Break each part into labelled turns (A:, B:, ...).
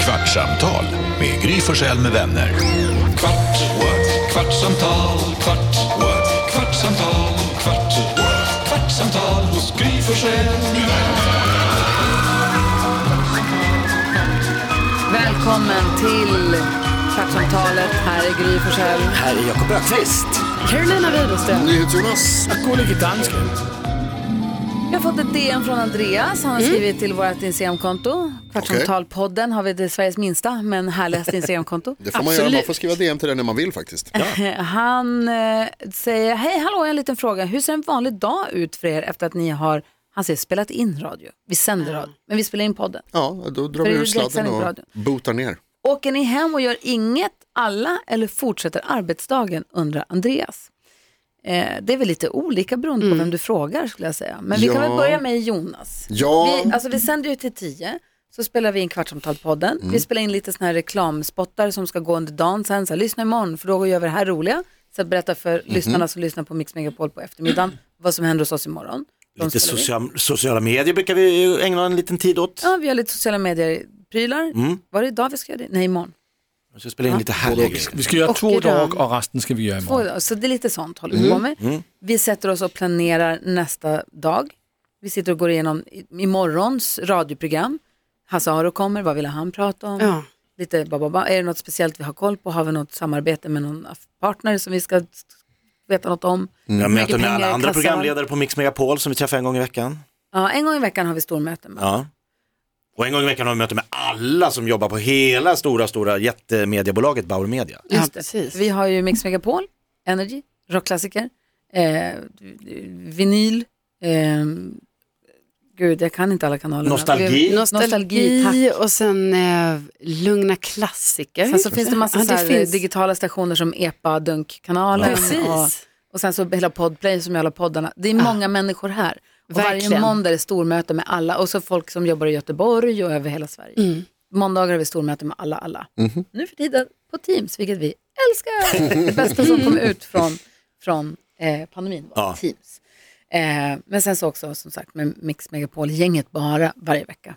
A: Kvartsamtal med Gry Forssell med vänner. Kvart, what? kvartsamtal, kvart, what? kvartsamtal, kvart, what? kvartsamtal hos Gry Forssell med vänner.
B: Välkommen till Kvartsamtalet. Här är Gry Forssell.
C: Här är Jakob Öqvist.
B: Carolina Widerström.
C: NyhetsJonas. Gullige dansken.
B: Jag har fått ett DM från Andreas. Han har
D: Mm.
B: skrivit till vårt Instagramkonto. Kvartsamtalpodden har vi det Sveriges minsta men härligaste Instagramkonto.
D: Det får man göra, man får skriva DM till den när man vill faktiskt.
B: Han eh, säger, hej hallå, jag har en liten fråga. Hur ser en vanlig dag ut för er efter att ni har, han säger spelat in radio. Vi sänder
D: Mm.
B: radio, men vi spelar in podden.
D: Ja, då
B: För
D: drar vi
B: det är
D: ur sladden
B: direktsändning på
D: och
B: radion.
D: botar ner.
B: Åker ni hem och gör inget, alla, eller fortsätter arbetsdagen, undrar Andreas. Eh, det är väl lite olika beroende på vem du frågar skulle jag säga. Men vi kan
D: Ja.
B: väl börja med Jonas.
D: Ja,
B: Vi, alltså, vi sänder ju till tio, så spelar vi in Kvartsamtal-podden. Vi spelar in lite såna här reklamspottar som ska gå under dagen sen. Så här, lyssna imorgon, för då gör vi det här roliga. Så att berätta för lyssnarna som lyssnar på Mix Megapol på eftermiddagen vad som händer hos oss imorgon. De
C: Lite
B: spelar vi.
C: social, sociala medier brukar vi ägna en liten tid åt.
B: Ja, vi har lite sociala medier-prylar. Var det idag vi ska göra det? Nej, imorgon.
C: Vi ska spela in lite härliga grejer.
E: Vi ska göra
B: Och
E: två
B: idag.
E: dagar och resten ska vi göra imorgon.
B: Två, så det är lite sånt håller vi på med. Vi sätter oss och planerar nästa dag. Vi sitter och går igenom i- imorgons radioprogram. Hasse Aro kommer, vad vill han prata om?
F: Ja.
B: Lite ba, ba, ba. Är det något speciellt vi har koll på? Har vi något samarbete med någon partner som vi ska s- veta något om?
C: Jag har
B: Hur mycket
C: möten med
B: pengar
C: alla
B: i
C: andra
B: kassan?
C: programledare på Mix Megapol som vi träffar en gång i veckan.
B: Ja, en gång i veckan har vi stormöten. med.
C: Ja. Och en gång i veckan har vi möte med alla som jobbar på hela stora, stora jättemediabolaget Bauer Media.
F: Ja,
B: Just det.
F: precis.
B: Vi har ju Mix Megapol, Energy, rockklassiker, eh, vinyl, eh, gud jag kan inte alla kanaler.
C: Nostalgi.
B: Nostalgi, tack.
F: Nostalgi och sen eh, lugna klassiker.
B: Sen så finns det massa
F: Ja,
B: så här
F: finns.
B: digitala stationer som EPA, Dunk-kanalen och,
F: eh, Precis.
B: och sen så hela Podplay som gör alla poddarna. Det är många människor här. Och varje
F: Verkligen.
B: måndag är det stormöte med alla och så folk som jobbar i Göteborg och över hela Sverige. Måndagar har vi stormöte med alla, alla. Nu för tiden på Teams, vilket vi älskar. Det bästa som kom ut från, från eh, pandemin var
C: Ja.
B: Teams. Eh, men sen så också som sagt med Mix Megapol-gänget bara varje vecka.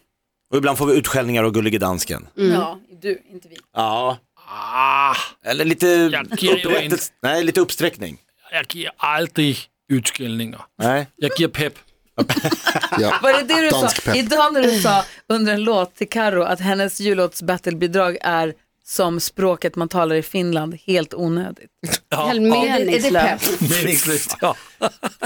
C: Och ibland får vi utskällningar av Gullige Dansken.
B: Ja, du, inte vi.
C: Ja,
E: Ah,
C: eller lite,
E: ger ju en.
C: upprättelse. Nej, lite uppsträckning.
E: jag ger aldrig utskällningar.
C: Nej.
E: Jag ger pepp.
D: ja.
B: Var det det du
D: Dansk
B: sa?
D: pepp.
B: Idag när du sa under en låt till Karo att hennes jullåtsbattlebidrag är som språket man talar i Finland, helt onödigt.
F: Helt
B: Är det pepp?
F: meningslöst.
E: Meningslöst. Ja.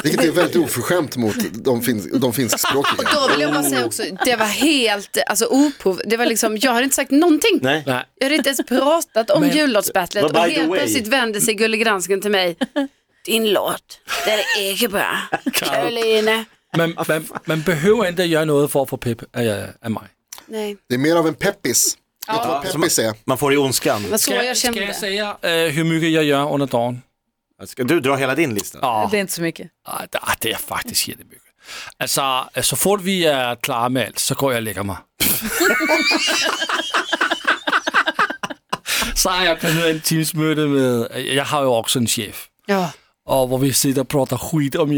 D: Vilket är väldigt oförskämt mot de, fin de finskspråkiga.
F: Då vill jag bara säga också, det var helt alltså, oprov. Det var liksom, jag hade inte sagt någonting.
C: Nej.
E: Nej.
F: Jag hade inte ens pratat om jullåtsbattlet
C: But by
F: och
C: the
F: helt
C: way-
F: plötsligt vände sig Gullig Dansken till mig. Din låt, den är inte bra. Caroline.
E: Man, man, man behöver inte göra något för att få pepp äh, av mig.
F: Nej,
D: Det är mer av en peppis. Vet du vad peppis är?
C: Man får det i ondskan.
F: vad så jag
E: ska jag
F: kände.
E: säga eh, hur mycket jag gör under dagen?
C: Ska du dra hela din lista?
E: Ja,
B: Det är inte så mycket.
E: ah, det, ah, det är faktiskt jättemycket. Alltså, eh, så fort vi är klara med allt så går jag och lägger mig. så har jag planerat en teamsmöte med, jag har ju också en chef.
F: Ja.
E: Och vad vi sitter och pratar skit om er.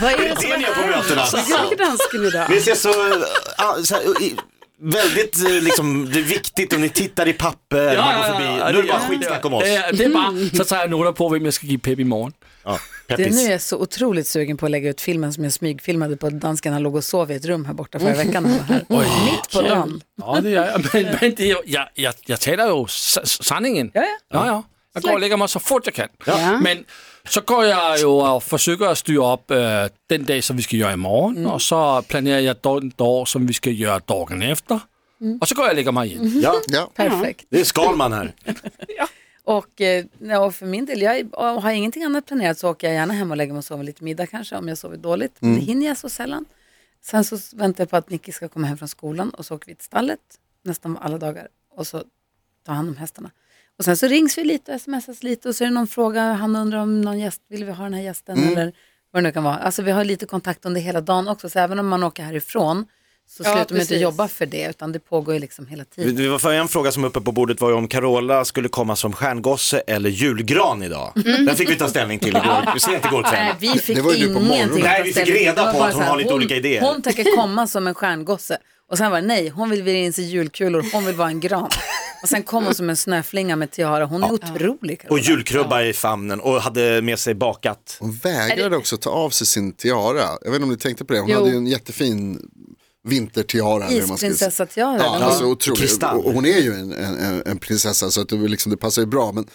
F: Vad är det
C: Det
F: som
C: är ni på mötena.
F: är Gullig Dansken idag?
C: Vi ser så, äh, så här, i, väldigt eh, liksom, det är viktigt om ni tittar i papper, man går förbi. nu är det bara skitsnack om oss.
E: Det är, det är bara, så tar jag noter på vem jag ska ge pepp imorgon.
C: Ja,
B: Det nu
C: peppis.
B: är jag så otroligt sugen på att lägga ut filmen som jag smygfilmade på dansken. Han låg och sov i ett rum här borta förra
D: Mm.
B: veckan. när han var Här. Mitt på dagen.
E: Ja, det gör jag. Men, men det är, ju- jag, jag, jag talar ju s- s- sanningen.
B: Ja, ja.
E: ja, ja. Jag går och lägger mig så fort jag kan.
F: Ja.
E: Men så går jag ju och försöker att styra upp eh, den dag som vi ska göra imorgon och så planerar jag den dag som vi ska göra dagen efter. Och så går jag och lägger mig igen.
C: Ja,
D: Ja.
B: Perfekt.
C: det är Skalman här.
B: Och, eh, ja, och för min del, jag är- har jag ingenting annat planerat så åker jag gärna hem och lägger mig och sover lite middag kanske om jag sover dåligt. Men
F: Mm.
B: det hinner jag så sällan. Sen så väntar jag på att Nicky ska komma hem från skolan och så åker vi till stallet nästan alla dagar och så tar hand om hästarna. Och sen så rings vi lite och smsas lite och så är det någon fråga, han undrar om någon gäst, vill vi ha den här
F: Mm.
B: gästen eller vad det nu kan vara. Alltså vi har lite kontakt under hela dagen också, så även om man åker härifrån så
F: Ja,
B: slutar man inte
F: precis.
B: jobba för det utan det pågår ju liksom hela tiden.
C: Det var för en fråga som uppe på bordet var ju om Carola skulle komma som stjärngosse eller julgran idag. Den fick vi ta ställning till igår, sent igår kväll.
B: Mm. Nej, vi fick
D: Det var ju nu på
B: ingenting.
D: morgonen.
C: Nej, vi fick reda
B: Det var
C: på
B: bara
C: att hon
B: så här,
C: har lite olika idéer.
B: Hon tänker komma som en stjärngosse. Och sen var det nej, hon vill vira in sig i julkulor, hon vill vara en gran. Och sen kom hon som en snöflinga med tiara, hon är otrolig. Carola.
C: Och julkrubba i famnen och hade med sig bakat.
D: Hon vägrade också ta av sig sin tiara. Jag vet inte om ni tänkte på det. Hon
B: Jo.
D: hade ju en jättefin vintertiara. eller hur man ska säga.
B: Isprinsessa tiara.
D: Ja,
B: den
D: alltså
B: var-
D: otroligt.
C: Kristall.
D: Och och hon är ju en, en- en, en prinsessa så att det, var liksom, det passar ju bra. Men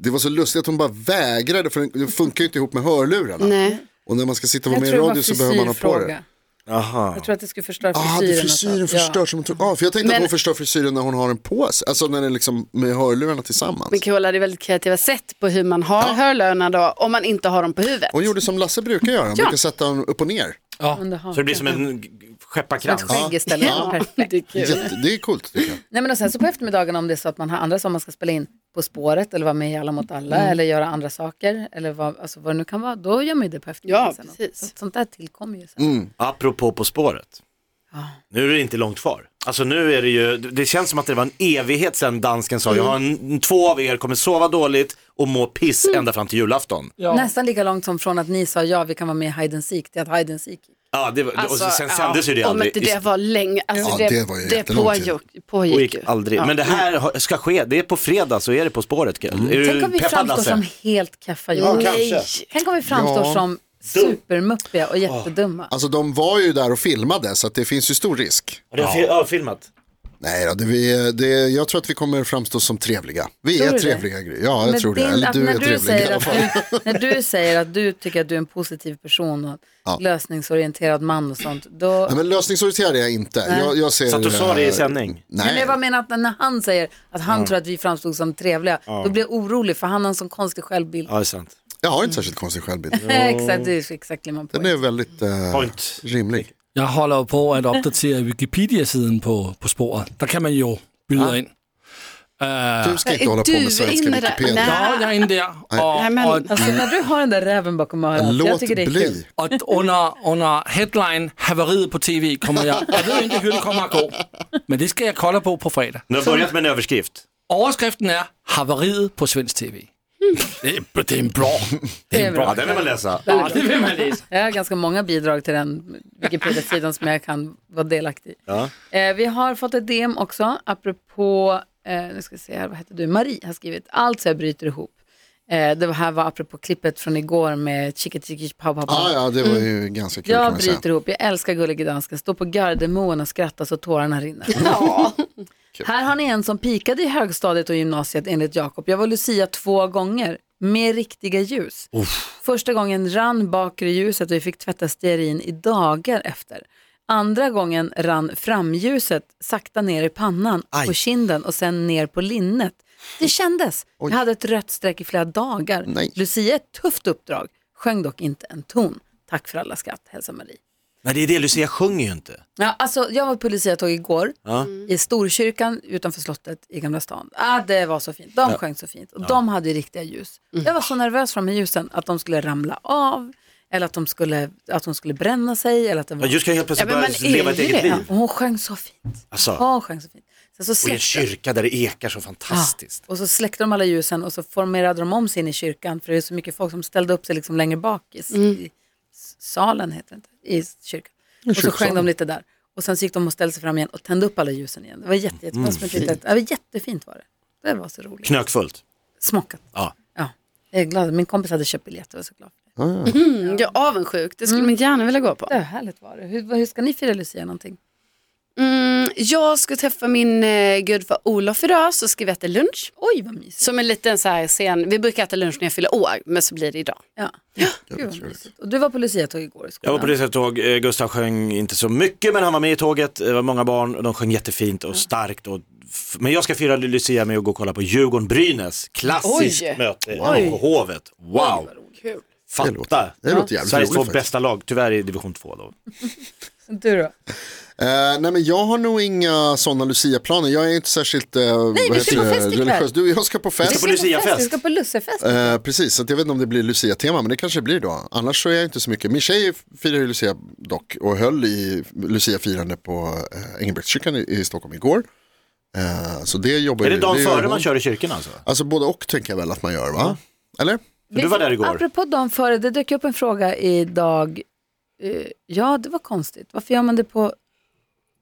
D: det var så lustigt att hon bara vägrade för den- den funkar ju inte ihop med hörlurarna.
F: Nej.
D: Och när man ska sitta och vara
B: jag
D: med i
B: tror det var
D: radio så behöver man ha på det.
B: frisyrfråga.
C: Aha.
B: Jag tror att det skulle förstöra
D: Ja, ah,
B: frisyren.
D: det är
B: och så.
D: frisyren
B: Ja.
D: förstörs. Ja. Ah, för jag tänkte
F: Men-
D: att hon förstör frisyren när hon har den på sig. Alltså när den liksom med hörlurarna tillsammans.
F: Men Carola hade väldigt kreativa sätt på hur man har hörlurarna då, om man inte har dem på huvudet.
D: Hon gjorde som Lasse brukar göra. Hon brukar sätta den upp och ner.
B: Under hakan.
C: Så det blir som en g- skepparkrans.
B: Ett skägg istället. Perfekt.
F: det är kul.
D: Jätte, det är coolt tycker jag.
B: Nej, men och sen så på eftermiddagen om det är så att man har andra som man ska spela in på spåret eller vara med i Alla mot alla
D: Mm.
B: eller göra andra saker eller vad, alltså vad det nu kan vara, då gör man ju det på eftermiddagen.
F: Ja,
B: sen.
F: precis.
B: Så, sånt där tillkommer ju sen.
C: Apropå På spåret. Nu är det inte långt kvar. Alltså nu är det ju, det känns som att det var en evighet sedan dansken sa, jag har en, två av er kommer sova dåligt och må piss
F: Mm.
C: ända fram till julafton.
B: Nästan lika långt som från att ni sa ja, vi kan vara med i Hide and Seek till att Hide and Seek.
C: Ja, det var,
F: Alltså,
C: och sen sändes ju det
F: ja,
C: aldrig.
F: Om inte det var länge, alltså
D: Ja,
F: det,
D: det var ju jättelång tid.
F: pågick,
C: Och
F: pågick
C: gick
F: ju.
C: aldrig. Men det här har- ska ske, det är på fredag så är det På spåret. Mm. Är
B: Tänk om vi framstår som helt kaffa ja,
C: kanske.
B: Tänk om vi framstår
D: Mm. Ja.
B: som supermuppiga och jättedumma.
D: Alltså de var ju där och filmade så att det finns ju stor risk.
C: Har det fi- ja, filmat?
D: Nej då, det, vi, det, jag tror att vi kommer framstå som trevliga. Vi
B: Tror
D: är
B: du det?
D: trevliga, Gry. Ja, jag
B: Men
D: tror det.
B: din-
D: Eller
B: att
D: du
B: när
D: är trevlig i
B: säger
D: alla
B: att
D: fall.
B: du, När du säger att du tycker att du är en positiv person och lösningsorienterad man och sånt, då...
D: Nej, men lösningsorienterad är jag inte. Jag, jag ser
C: Så att du
D: det
C: sa det i
D: här-
C: sändning?
B: Nej, men
D: Nej,
B: jag bara menar att när han säger att han tror att vi framstod som trevliga, då blir jag orolig för han har en sån konstig självbild.
C: Ja, det är sant.
D: jag har inte särskilt konstig självbild.
B: exakt, det är exakt det man på.
D: Den är väldigt eh,
C: Mm. Point.
D: rimlig.
E: Jeg holder jo på at opdatere Wikipedia-siden på, på sporet. Der kan man jo byde ind. Øh,
D: Du ska inte hålla på
F: du
D: med svenska
F: inne där? Nej.
D: Wikipedia.
E: Ja, jeg er inde der, og,
F: Nej, men-
E: og,
B: Alltså när du har den där räven bakom örat, jag
D: Låt
B: tycker det är kul.
D: bli.
E: og under, under headline Haveriet på TV kommer jeg... Jeg ved ikke, hylden kommer at gå, men det skal jeg kolde på på fredag.
C: Nu har börjat med en överskrift.
E: Overskriften er Haveriet på svensk TV. Det, er- det er en bra. Det er en bra.
C: Ja, den vill man läsa.
E: Ja, det vil man læse.
B: Jag har ganska många bidrag till den Wikipedia-sidan som jag kan vara delaktig i.
C: Ja.
B: Eh, vi har fått ett DM också, apropå, eh, nu ska vi se här, vad heter du? Marie har skrivit, allt så jag bryter ihop. Eh, det här var apropå klippet från igår med Chica Chica Pow Pow Pow.
D: Ah, Ja, ja, det var ju ganska kul kan
B: Mm. Jag
D: man säga.
B: bryter ihop, jag älskar Gullige Dansken, står på Gardermoen och skrattar så tårarna rinner. Här har ni en som pikade i högstadiet och gymnasiet enligt Jakob. Jag var Lucia två gånger med riktiga ljus. Första gången rann bakre ljuset och vi fick tvätta stearin i dagar efter. Andra gången rann framljuset sakta ner i pannan, på kinden och sen ner på linnet. Det kändes. Jag hade ett rött streck i flera dagar.
D: Nej.
B: Lucia ett tufft uppdrag, sjöng dock inte en ton. Tack för alla skratt, hälsa Marie.
C: Men det är det, Lucia sjunger ju inte.
B: Ja, alltså, jag var på Lucia-tåg igår
C: Ja.
B: i Storkyrkan utanför slottet i Gamla stan. Ah, det var så fint, de sjöng så fint och de hade ju riktiga ljus. Jag var så nervös framför ljusen att de skulle ramla av eller att de skulle, att de skulle bränna sig. Eller att det
C: Ja,
B: var...
C: du ska helt plötsligt
F: Ja, men
C: börja
F: man är
C: leva ett
F: ju
C: eget
F: det.
B: ja,
C: liv.
B: och hon sjöng så fint.
C: Alltså,
B: Hon sjöng så fint. Sen så
C: och i en
B: släckte,
C: kyrka där det ekar så fantastiskt.
B: och så släckte de alla ljusen och så formerade de om sig in i kyrkan för det är så mycket folk som ställde upp sig liksom längre bak i, s- i s- salen, heter det inte, i kyrkan. Och så sjöng de lite där. Och sen så gick de och ställde sig fram igen och tände upp alla ljusen igen. Det var jätte, jätte, mm, det var jättefint var det. Det var så roligt.
C: Knökfullt.
B: Smockat.
C: Ja.
B: Ja, jag är glad. Min kompis hade köpt biljetter och så glad.
F: Mm, jag är avundsjuk, det skulle
C: Mm.
F: man gärna vilja gå på.
B: Det var härligt var det. Hur, vad- hur ska ni fira Lucia någonting?
F: Mm, jag ska träffa min eh, gudfar Olof idag, så ska vi äta lunch.
B: Oj, vad mysigt.
F: Som en liten så här scen, vi brukar äta lunch när jag fyller år, men så blir det idag.
B: Ja. Gud, vad mysigt. Och du var på Lucia-tåg igår i
C: Jag
B: skolan.
C: var på det sättet tåg, Eh, Gustav sjöng inte så mycket men han var med i tåget, Eh, det var många barn och de sjöng jättefint och starkt. Och f- men jag ska fira Lucia med att gå och kolla på Djurgården-Brynäs, klassiskt
F: Oj.
C: möte på Hovet. Wow,
F: Kul.
D: Det
C: fatta!
D: låter, det låter jävligt
C: Sveriges
D: roligt
C: två
D: faktiskt.
C: bästa lag, tyvärr i division 2 då.
B: Du då?
D: Eh, nej men jag har nog inga sådana Lucia-planer. Jag är inte särskilt eh,
B: vi ska på fest ikväll.
D: religiös. Du, jag ska på
C: Vi
D: fest.
C: ska på Luciafest.
B: Vi ska på lussefest.
D: Eh, precis, så att jag vet inte om det blir Lucia-tema, men det kanske det blir då. Annars så är jag inte så mycket. Min tjej firar ju Lucia dock och höll i Lucia-firande på eh, Engelbrektskyrkan i, i Stockholm igår. Eh, så det jobbar
C: Är det
D: ju-
C: dagen
D: gör
C: före man
D: hon.
C: kör i kyrkan alltså? För
D: Alltså både och tänker jag väl att man gör,
B: Mm.
D: va? Eller?
C: Du var där igår.
B: Apropå dagen före, det dök upp en fråga idag. Eh, Ja, det var konstigt. Varför gör man det på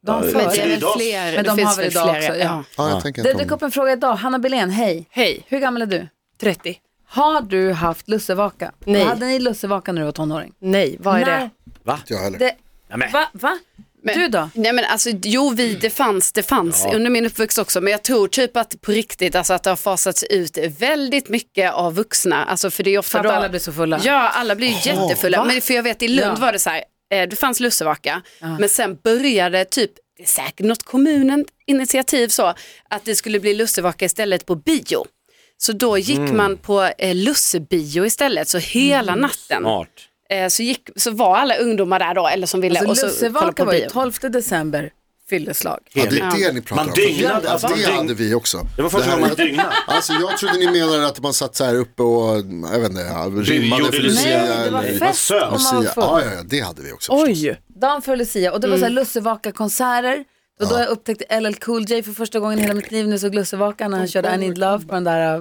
B: dagen
C: Ja,
B: före?
C: men
F: Det är väl
C: Idag-
F: fler.
B: Men de
F: det
B: har
F: finns
B: väl
F: väl fler.
B: idag också, ja.
F: Ja.
D: Ja, jag tänker
B: Det
D: inte
B: dök
D: om...
B: upp en fråga idag. Hanna Belén, hej.
F: Hej,
B: Hur gammal är du?
F: 30.
B: Har du haft lussevaka?
F: Nej.
B: Hade ni lussevaka när du var tonåring?
F: Nej, vad är
B: Nej.
F: det?
D: Jag heller.
B: Det,
C: Ja, men.
B: va? va?
G: Men-
B: Du då?
G: Nej men alltså, jo vi, det fanns, det fanns under min uppväxt också, men jag tror typ att på riktigt, alltså att det har fasats ut väldigt mycket av vuxna, alltså för det är ofta
B: För att
G: då-
B: alla blir så fulla?
G: Ja, alla blir ju jättefulla,
B: va?
G: men för jag vet i Lund
B: Ja.
G: var det så här, eh, det fanns lussevaka, men sen började typ, det är säkert något kommunen initiativ så, att det skulle bli lussevaka istället på bio. Så då gick man på eh, lussebio istället, så hela
B: Mm.
G: natten.
C: Smart.
G: Eh, så, gick, så var alla ungdomar där då, eller som ville,
B: Alltså,
G: och så kollade
B: lussevaka
G: på
B: var ju
G: bio.
B: 12 december, fylleslag.
D: Ja, det är det ni pratar
C: Man
D: om.
C: dygnade,
D: ja,
C: alltså,
D: det
C: man dygn-
D: hade vi också.
C: Det var första
D: här-
C: gången man dygnade.
D: Alltså jag trodde ni menade att man satt så här uppe och, jag vet inte, ja, rimmade
C: gjorde
D: för
C: Lucia.
D: Lucia.
B: Nej, det var
D: eller-
B: fest
C: söt.
B: om man var
D: Lucia. Ja,
B: full.
D: ja, ja, det hade vi också. förstås.
F: Oj.
B: Dagen för Lucia och det var så här
C: Mm.
B: lussevaka-konserter. Och då jag upptäckte LL Cool J för första gången i hela mitt liv när jag såg lussevaka när han
C: Oh,
B: körde I Need Love på den där äh,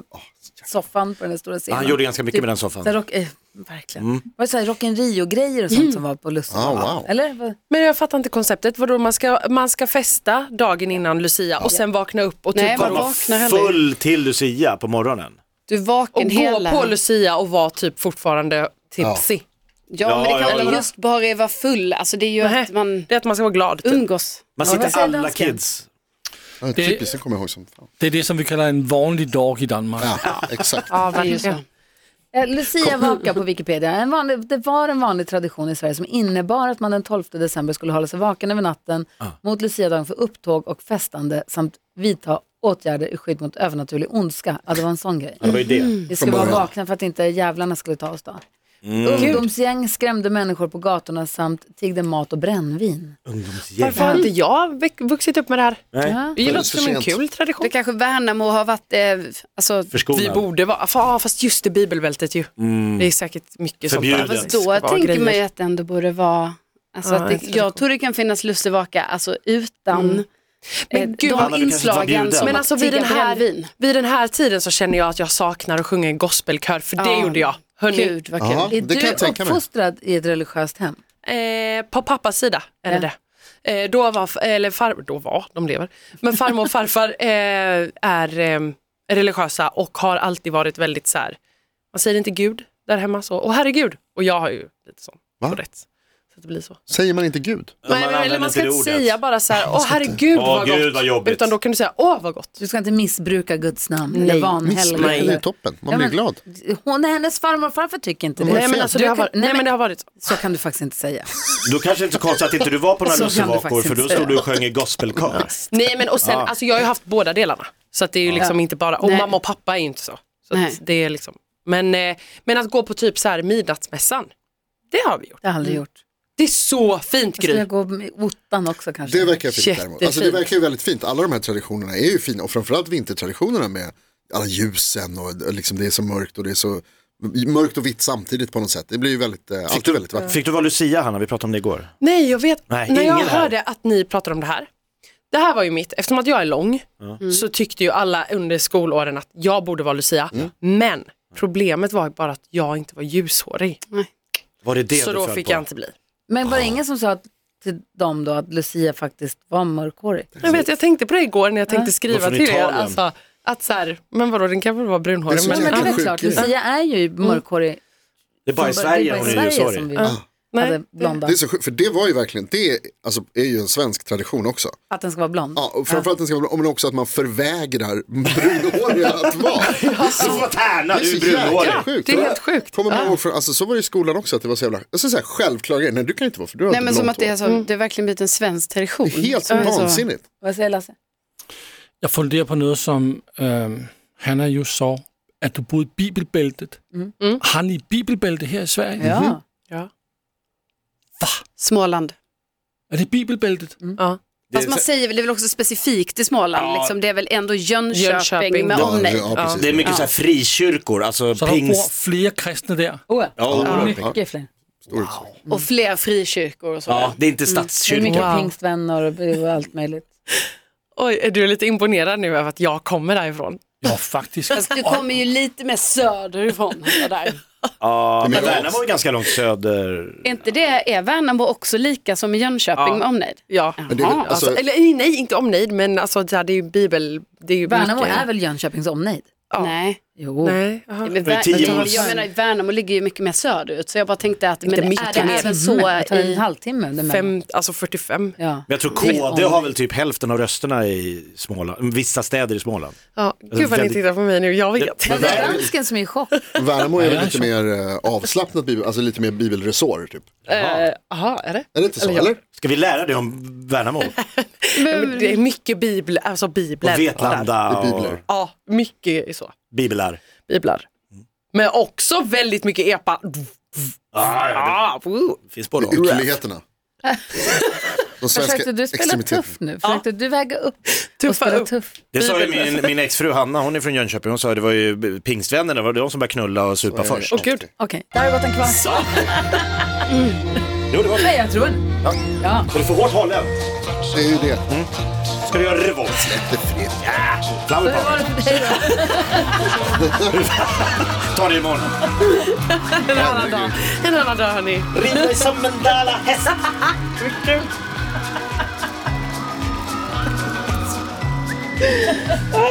B: soffan på den där stora scenen.
C: Han gjorde ganska mycket med den soffan. Mm.
B: Så här rock, eh, verkligen. Det var så här Rock in Rio-grejer och sånt som var på lussevaka.
D: Ah, wow.
B: Eller? Vad-
H: Men jag fattar inte konceptet. Vadå, man ska, man ska festa dagen innan Lucia och sen vakna upp och typ
G: Nej,
H: vara
G: man
H: vak-
G: vaknar heller.
C: Full till Lucia på morgonen.
G: Du är vaken
H: och
G: hela.
H: gå på Lucia och vara typ fortfarande tipsy.
G: ja,
C: Ja,
G: men det
C: ja,
G: kan
C: ja.
G: eller just bara vara full. Alltså det är ju
H: Nähä,
G: att man
H: Det är att man ska vara glad. Typ.
G: umgås.
B: vad
C: Man sitter
B: säger
C: alla
B: dansken?
C: kids.
D: Ja, typiskt, det kommer jag ihåg som fan.
E: Det är det som vi kallar en vanlig dag i Danmark.
D: Ja, exakt.
H: Ja,
G: Det är ju
H: verkligen.
G: så.
B: Eh, Lucia-vaka på Wikipedia. En vanlig, det var en vanlig tradition i Sverige som innebar att man den 12 december skulle hålla sig vaken över natten
C: Ah.
B: mot Luciadagen för upptåg och festande samt vidta åtgärder i skydd mot övernaturlig ondska. Ja, det var en sån grej.
C: Det var ju det.
H: Mm.
B: Vi ska
D: Från
B: vara
D: början. Mm.
B: vakna för att inte jävlarna skulle ta oss då. Ungdomsgäng skrämde människor på gatorna samt tiggde mat och brännvin.
C: Ungdomsgäng.
H: Varför har inte jag väck- vuxit upp med det här?
C: Nej,
H: Det låter
D: för
H: som en
D: sent.
H: kul tradition.
G: Det kanske Värnamo har varit, eh, alltså,
H: Vi
C: förskonad.
H: borde vara, fa- ja, fast just i bibelbältet ju. Det är säkert mycket
C: Förbjudet.
H: sånt där.
C: Fast
H: Det ska
G: då
H: vara
G: tänker
H: grejer.
G: man ju att det ändå borde vara, alltså
H: Ja,
G: att det,
H: jag tror
G: jag tror det kan finnas lussevaka alltså utan
H: Men
G: eh,
H: gud,
G: de
C: du kanske
H: Anna,
C: inte var
G: inslagen
C: bjuden.
G: som
H: Men
G: att
H: alltså vid den,
G: tigga
H: här,
G: brännvin.
H: vid den här tiden så känner jag att jag saknar att sjunga i gospelkör, för det
G: Ja.
H: gjorde jag. Hörni,
G: Gud vad kul.
D: Ja,
B: Är
D: det kan jag
B: du
D: tänka mig.
B: uppfostrad i ett religiöst hem?
H: eh, på pappas sida är det det. Eh, då var, f- eller far, då var, de lever, men farmor och farfar eh, är eh, religiösa och har alltid varit väldigt så här, man säger inte gud där hemma så, och herregud, och jag har ju lite sån,
D: Va?
H: så rätt. Så att det blir så.
D: Säger man inte Gud?
C: De
H: Nej,
C: använder
H: men, eller man ska
C: inte
H: inte
C: det ordet.
H: säga bara så här, åh herregud
C: Åh,
H: vad
C: gud,
H: gott.
C: vad jobbigt.
H: Utan då kan du säga, åh vad gott.
B: Du ska inte missbruka Guds namn eller vanhelga.
D: Missbruk är ju
B: eller-
D: toppen, man
B: Ja,
D: blir
B: men-
D: glad.
B: Hon, hennes farmor och farfar tycker inte det.
H: Nej men, alltså, det har
B: Du kan-
H: varit, nej, men det har varit så.
B: Så kan du faktiskt inte säga.
C: Då kanske inte så konstigt att inte du var på några
B: Så kan du
C: lussevakor
B: faktiskt
C: för då
B: inte
C: stod du
B: säga.
C: och sjöng i gospelkör.
H: Nej men och sen, alltså jag har ju haft båda delarna. Så att det är ju liksom inte bara, och
G: Nej.
H: mamma och pappa är ju inte så. så
G: Nej.
H: att det är liksom, men, eh, men att gå på typ så här midnattsmässan, det har vi gjort.
B: Det har jag aldrig gjort.
H: Det är så fint
G: Alltså,
B: Jag skulle
H: Gry.
B: gå med ottan också kanske.
D: Det verkar fint däremot. Alltså, det
H: Jättefint.
D: verkar ju väldigt fint. Alla de här traditionerna är ju fina och framförallt vintertraditionerna med alla ljusen och liksom det är så mörkt och det är så mörkt och vitt samtidigt på något sätt. Det blir ju väldigt, eh, alltid väldigt vackert.
C: Fick du vara Lucia Hanna? Vi pratade om det igår.
H: Nej jag vet,
C: Nej,
H: när jag
C: ingen här.
H: hörde att ni pratade om det här, det här var ju mitt, eftersom att jag är lång så
G: Mm.
H: tyckte ju alla under skolåren att jag borde vara Lucia.
C: Mm.
H: Men problemet var ju bara att jag inte var ljushårig.
C: Var det det
H: så
C: du
H: då
C: föll
H: fick
C: på?
H: jag inte bli.
B: Men var det ingen som sa att, till dem då att Lucia faktiskt var mörkhårig?
H: Jag vet, jag tänkte på det igår när jag tänkte skriva
C: från
H: till er.
C: Italien.
H: Alltså, att så här, men vadå den kan väl vara brunhårig.
D: Det är så
H: Men,
B: Men
D: jäkla
B: det är
D: sjuk
B: klart,
D: grej.
B: Lucia är ju
H: Mm.
B: mörkhårig.
C: Det är bara i
B: från början.
C: Sverige
B: Det var
C: hon
B: i
C: är
B: Sverige som
C: ljushårig.
B: vi
H: nej,
B: hade blonda.
D: Det är så sjukt, för det var ju verkligen, det är, alltså, är ju en svensk tradition också.
B: Att den ska vara blond.
D: Ja, och framförallt den ska, men också att man förvägrar brunhåriga att vara.
C: Du får tärna,
D: Det är
C: du är
D: så
C: brunhårig.
D: jäkla sjukt.
H: det är helt sjukt.
D: Kommer man ihåg från, alltså, så var det i skolan också att det var så jävla, alltså, så här, självklara grejer, nej du kan inte vara för du har
G: Nej
D: inte
G: men som
D: blont
G: att det är,
D: hår.
G: så,
H: Mm.
G: det är verkligen blivit en svensk tradition.
D: Det är helt
G: Alltså,
D: vansinnigt.
B: Vad säger Lasse?
E: Jeg funderer på noget, som øh, Hanna just så, at du boede i Bibelbæltet. Mm. Har ni Bibelbælte her i Sverige?
B: Ja.
H: Ja.
G: Småland.
E: Är det bibelbältet?
H: Ja.
C: Det är
G: Fast man
C: så-
G: säger väl, det är väl också specifikt i Småland,
C: Ja.
G: liksom, det är väl ändå Jönköping,
H: Jönköping.
G: med
D: Ja,
G: omnejd.
D: ja, precis.
C: Det är mycket så här frikyrkor, alltså
E: Så der bor
C: pingst.
E: flere kristne der.
B: Oh, ja.
C: Ja, oerhört mycket.
B: Mycket fler.
G: Och fler frikyrkor och så.
C: Mm. ja, det är inte
B: Det är mycket
C: statskyrkor.
H: Wow.
B: pingstvänner och- och allt möjligt.
H: Oj, är du lite imponerad nu över att jag kommer därifrån?
E: Ja, faktisk.
G: Fast du kommer ju lite mer
C: Mm.
G: söderifrån. än Där.
C: Ja, men
D: Men jag-
C: Värnamo är ganska långt söder.
G: Är inte det, är Värnamo också lika som Jönköping med omnejd?
H: Ja.
D: Men det är väl-
G: Jaha.
D: alltså-
H: Alltså, eller nej, inte omnejd, men alltså, det här, det är ju bibel... Det är ju
B: Värnamo
H: mycket-
B: är väl Jönköpings omnejd?
H: Ja.
G: Nej.
B: Jo.
H: Nej, aha.
G: Men
C: Det är
G: Vär-
C: tio
G: jag,
C: mils-
G: jag menar, Värnamo ligger ju mycket mer söderut, så jag bara tänkte att men
H: Inte
G: är
H: mycket
G: det
H: mer.
G: även
B: Så
G: så
C: Mm.
B: det tar en
G: i...
B: halvtimme. däremellan.
H: Fem, alltså 45.
B: Ja.
C: Men jag tror
B: Det är
C: KD
B: om-
C: har väl typ hälften av rösterna i Småland, vissa städer i Småland.
H: Ja. Gud vad ni
C: väldigt-
H: tittar på mig nu, jag vet.
B: Men det är dansken som är i chock.
D: Värnamo är
E: Ja,
D: väl lite
E: så.
D: mer eh, avslappnat, bibel, alltså lite mer bibelresort typ.
H: Eh, Jaha, är det?
D: Är det inte så? Eller?
C: Ska vi lära dig om Värnamo?
H: Ja, men det är mycket bibel, alltså bibler.
C: Och
D: Det
C: Vetlanda
D: är
C: och
D: bibler.
H: Ja, mycket är så.
C: biblar.
H: Biblar. Men också väldigt mycket epa.
C: Ah, ja,
H: Ah, woo.
C: det finns både
D: Det är Ytterligheterna. De
B: Försökte du spela
D: extremiteterna.
B: tuff nu? Försökte du väga upp och
H: Tuffa
B: spela
H: upp.
B: tuff?
C: Det sa ju min, min exfru Hanna, hon är från Jönköping, hon sa det var ju pingstvännerna, det var de som började knulla och supa först.
H: Åh gud.
B: Okej, där har gått en kvart.
C: Jo, det var
B: Nej, jag tror en.
C: Så du får hårt hållen.
D: Det är ju det.
C: Ska du göra revolt?
D: Det är fred.
C: Flower
B: Hur var
C: power.
B: det för dig då?
C: Ta det imorgon.
H: En annan dag, en annan dag hörni.
C: Rida som en dalahäst.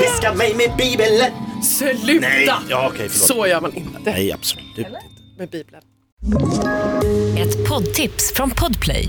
C: Piska mig med bibeln.
H: Sluta!
C: Nej, ja, okej, förlåt.
H: så gör man inte
C: Nej, absolut inte.
H: med bibeln.
I: Ett poddtips från Podplay.